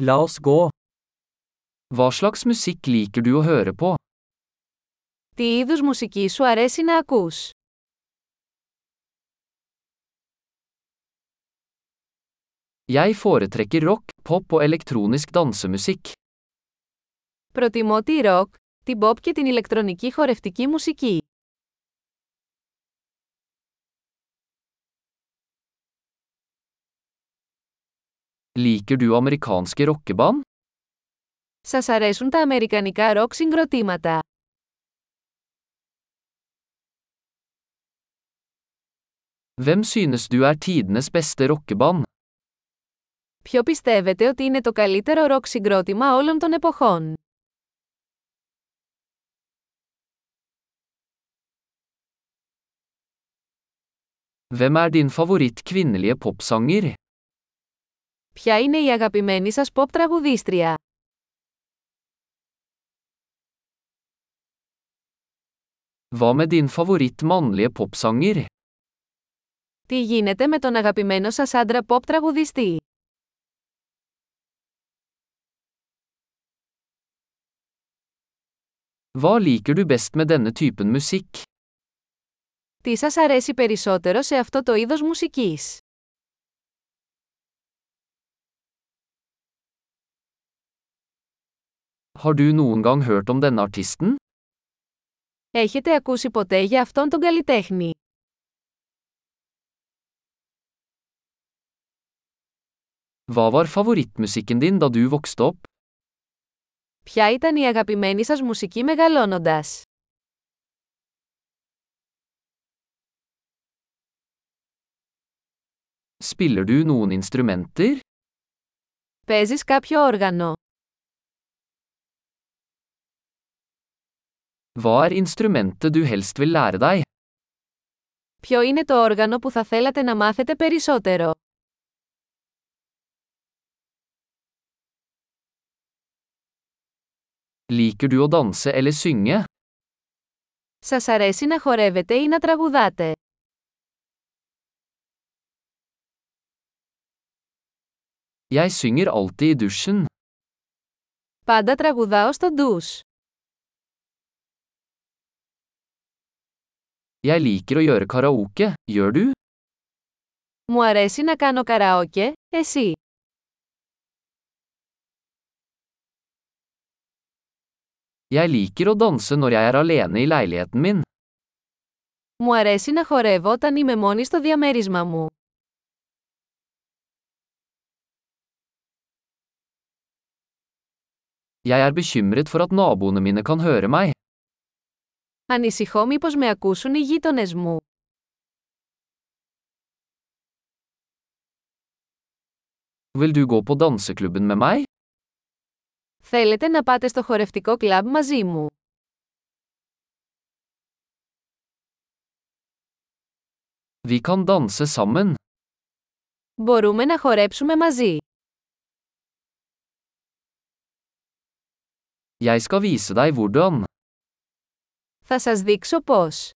La oss gå. Hva slags musikk liker du å høre på? Τι είδους μουσική σου αρέσει να ακούς? Jeg foretrekker rock, pop og elektronisk dansemusikk. Προτιμώ τη ροκ, την pop και την ηλεκτρονική χορευτική μουσική. Liker du amerikanske rockeband? Σας αρέσουν τα αμερικανικά ροκ συγκροτήματα. Hvem synes du er tidenes beste rockeband? Ποιο πιστεύετε ότι είναι το καλύτερο ροκ συγκρότημα όλων των εποχών? Hvem er din favoritt kvinnelige popsanger? Ποια είναι η αγαπημένη σας pop τραγουδίστρια? Hva med din favoritt mannlige popsanger? Τι γίνεται με τον αγαπημένο σας άντρα pop τραγουδιστή? Hva liker du best med denne typen musikk? Τι σας αρέσει περισσότερο σε αυτό το είδος μουσικής? Har du noen gang hørt om denne artisten? Έχετε ακούσει ποτέ για αυτόν τον καλλιτέχνη? Hva var favorittmusikken din da du vokste opp? Ποια ήταν η αγαπημένη σας μουσική μεγαλώνοντας? Spiller du noen instrumenter? Παίζεις κάποιο όργανο. Hva er instrumentet du helst vil lære deg? Ποιο είναι το όργανο που θα θέλατε να μάθετε περισσότερο. Liker du å danse eller synge? Σας αρέσει να χορεύετε ή να τραγουδάτε. Jeg synger alltid i dusjen. Πάντα τραγουδάω στο ντους. Jeg liker å gjøre karaoke, gjør du? Μου αρέσει να κάνω καραόκε, εσύ. Jeg liker å danse når jeg er alene i leiligheten min. Μου αρέσει να χορεύω όταν είμαι μόνη στο διαμέρισμα μου. Jeg er bekymret for at naboene mine kan høre meg. Ανησυχώ μήπως με ακούσουν οι γείτονες μου. Vil du gå på danseklubben med meg? Θέλετε να πάτε στο χορευτικό κλαμπ μαζί μου. Vi kan danse sammen. Μπορούμε να χορέψουμε μαζί. Jeg skal vise deg hvordan. Θα σας δείξω πώς.